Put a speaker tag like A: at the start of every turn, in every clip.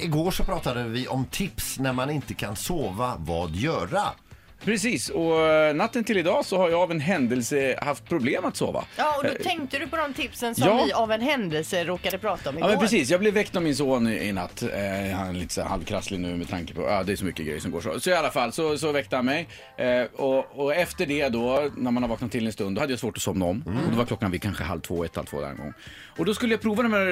A: Igår så pratade vi om tips när man inte kan sova, vad göra?
B: Precis, och eh, natten till idag så har jag av en händelse haft problem att sova.
C: Ja, och då tänkte du på de tipsen som
B: Eh, ja.
C: vi av en händelse råkade prata om igår.
B: Ja men precis, jag blev väckt av min son i, i natt. Eh, han är lite så här halvkrasslig nu med tanke på, ja det är så mycket grejer som går så. Så i alla fall så, så väckte han mig. Eh, och, och efter det då, när man har vaknat till en stund, då hade jag svårt att somna om.
C: Mm.
B: Och då var klockan vid kanske halv två, ett, halv två där en gång. Och då skulle jag prova den här,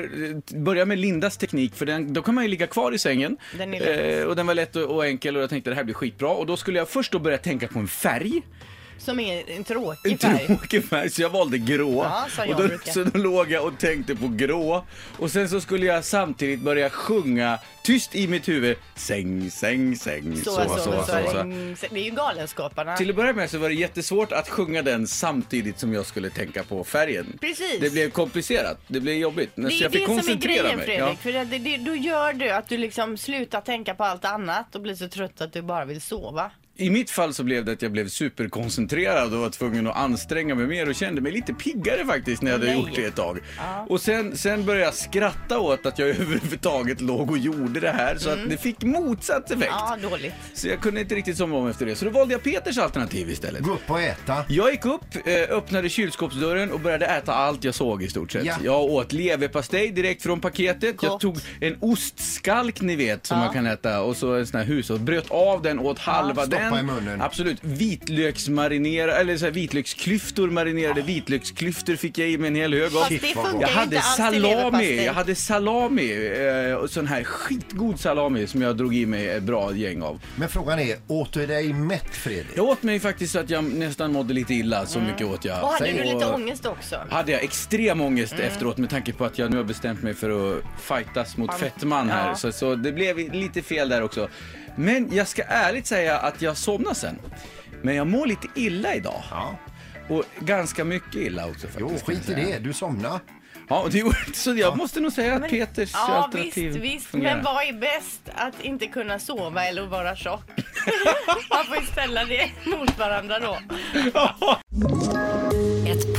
B: eh, börja med Lindas teknik, för den, då kan man ju ligga kvar i sängen.
C: Den är lätt.
B: Eh, och den var lätt och, och enkel och jag tänkte det här blir skitbra. Och då skulle jag först då börja tänka på en färg.
C: Som är en
B: En
C: tråkig färg.
B: tråkig färg, så jag valde grå.
C: Ja, som jag
B: och då,
C: brukar.
B: så då låg jag och tänkte på grå. Och sen så skulle jag samtidigt börja sjunga tyst i mitt huvud. Säng, säng, säng,
C: Så, så, så, så, så, Det är ju Galenskaparna.
B: Till att börja med så var det jättesvårt att sjunga den samtidigt som jag skulle tänka på färgen.
C: Precis.
B: Det blev komplicerat, det blev jobbigt.
C: Det
B: så
C: är
B: jag fick
C: det som är
B: koncentrera
C: grejen
B: mig.
C: Fredrik.
B: Ja.
C: För det, det, då gör du att du liksom slutar tänka på allt annat och blir så trött att du bara vill sova.
B: I mitt fall så blev det att jag blev superkoncentrerad och var tvungen att anstränga mig mer och kände mig lite piggare faktiskt när jag hade
C: Nej.
B: gjort det ett tag. Och sen, sen började jag skratta åt att jag överhuvudtaget låg och gjorde det här så att det fick motsatt effekt.
C: Mm. Ja, dåligt.
B: Så jag kunde inte riktigt somna om efter det. Så då valde jag Peters alternativ istället.
A: Gå upp och äta.
B: Jag gick upp, eh, öppnade kylskåpsdörren och började äta allt jag såg i stort sett.
A: Ja.
B: Jag åt leverpastej direkt från paketet. Jag
C: Gott.
B: tog en ostskalk ni vet som man kan äta och så en sån här hus och bröt av den åt halva
A: Stoppa
B: den.
A: i munnen.
B: Absolut. Vitlöksmarinera, eller så här vitlöksklyftor marinerade vitlöksklyftor fick jag i mig en hel hög av.
C: Fast det
A: vad gott.
C: funkar
B: Jag
C: ju
B: hade
C: inte alls till
B: salami,
C: leverpastej.
B: jag hade salami, eh, och sån här skitgod salami som jag drog i mig ett bra gäng av.
A: Men frågan är, åt du dig mätt Fredrik?
B: Jag åt mig faktiskt så att jag nästan mådde lite illa, så mycket åt jag.
C: Mm. Och hade
B: Sen-
C: du lite ångest också?
B: hade jag extrem ångest
C: Mm.
B: efteråt med tanke på att jag nu har bestämt mig för att fightas mot fettman här.
C: Ja.
B: Så, så det blev lite fel där också. Men jag ska ärligt säga att jag somnade sen. Men jag mår lite illa idag.
A: Ja.
B: Och ganska mycket illa också faktiskt.
A: Jo,
B: kan jag
A: skit i
B: säga.
A: det. Du somnade.
B: Ja, och det gjorde, så jag måste nog säga att
C: Men-
B: Peters
C: ja,
B: alternativ
C: visst, visst.
B: fungerar.
C: Men vad är bäst? Att inte kunna sova eller att vara tjock? Man får ju ställa det mot varandra då.
D: Ett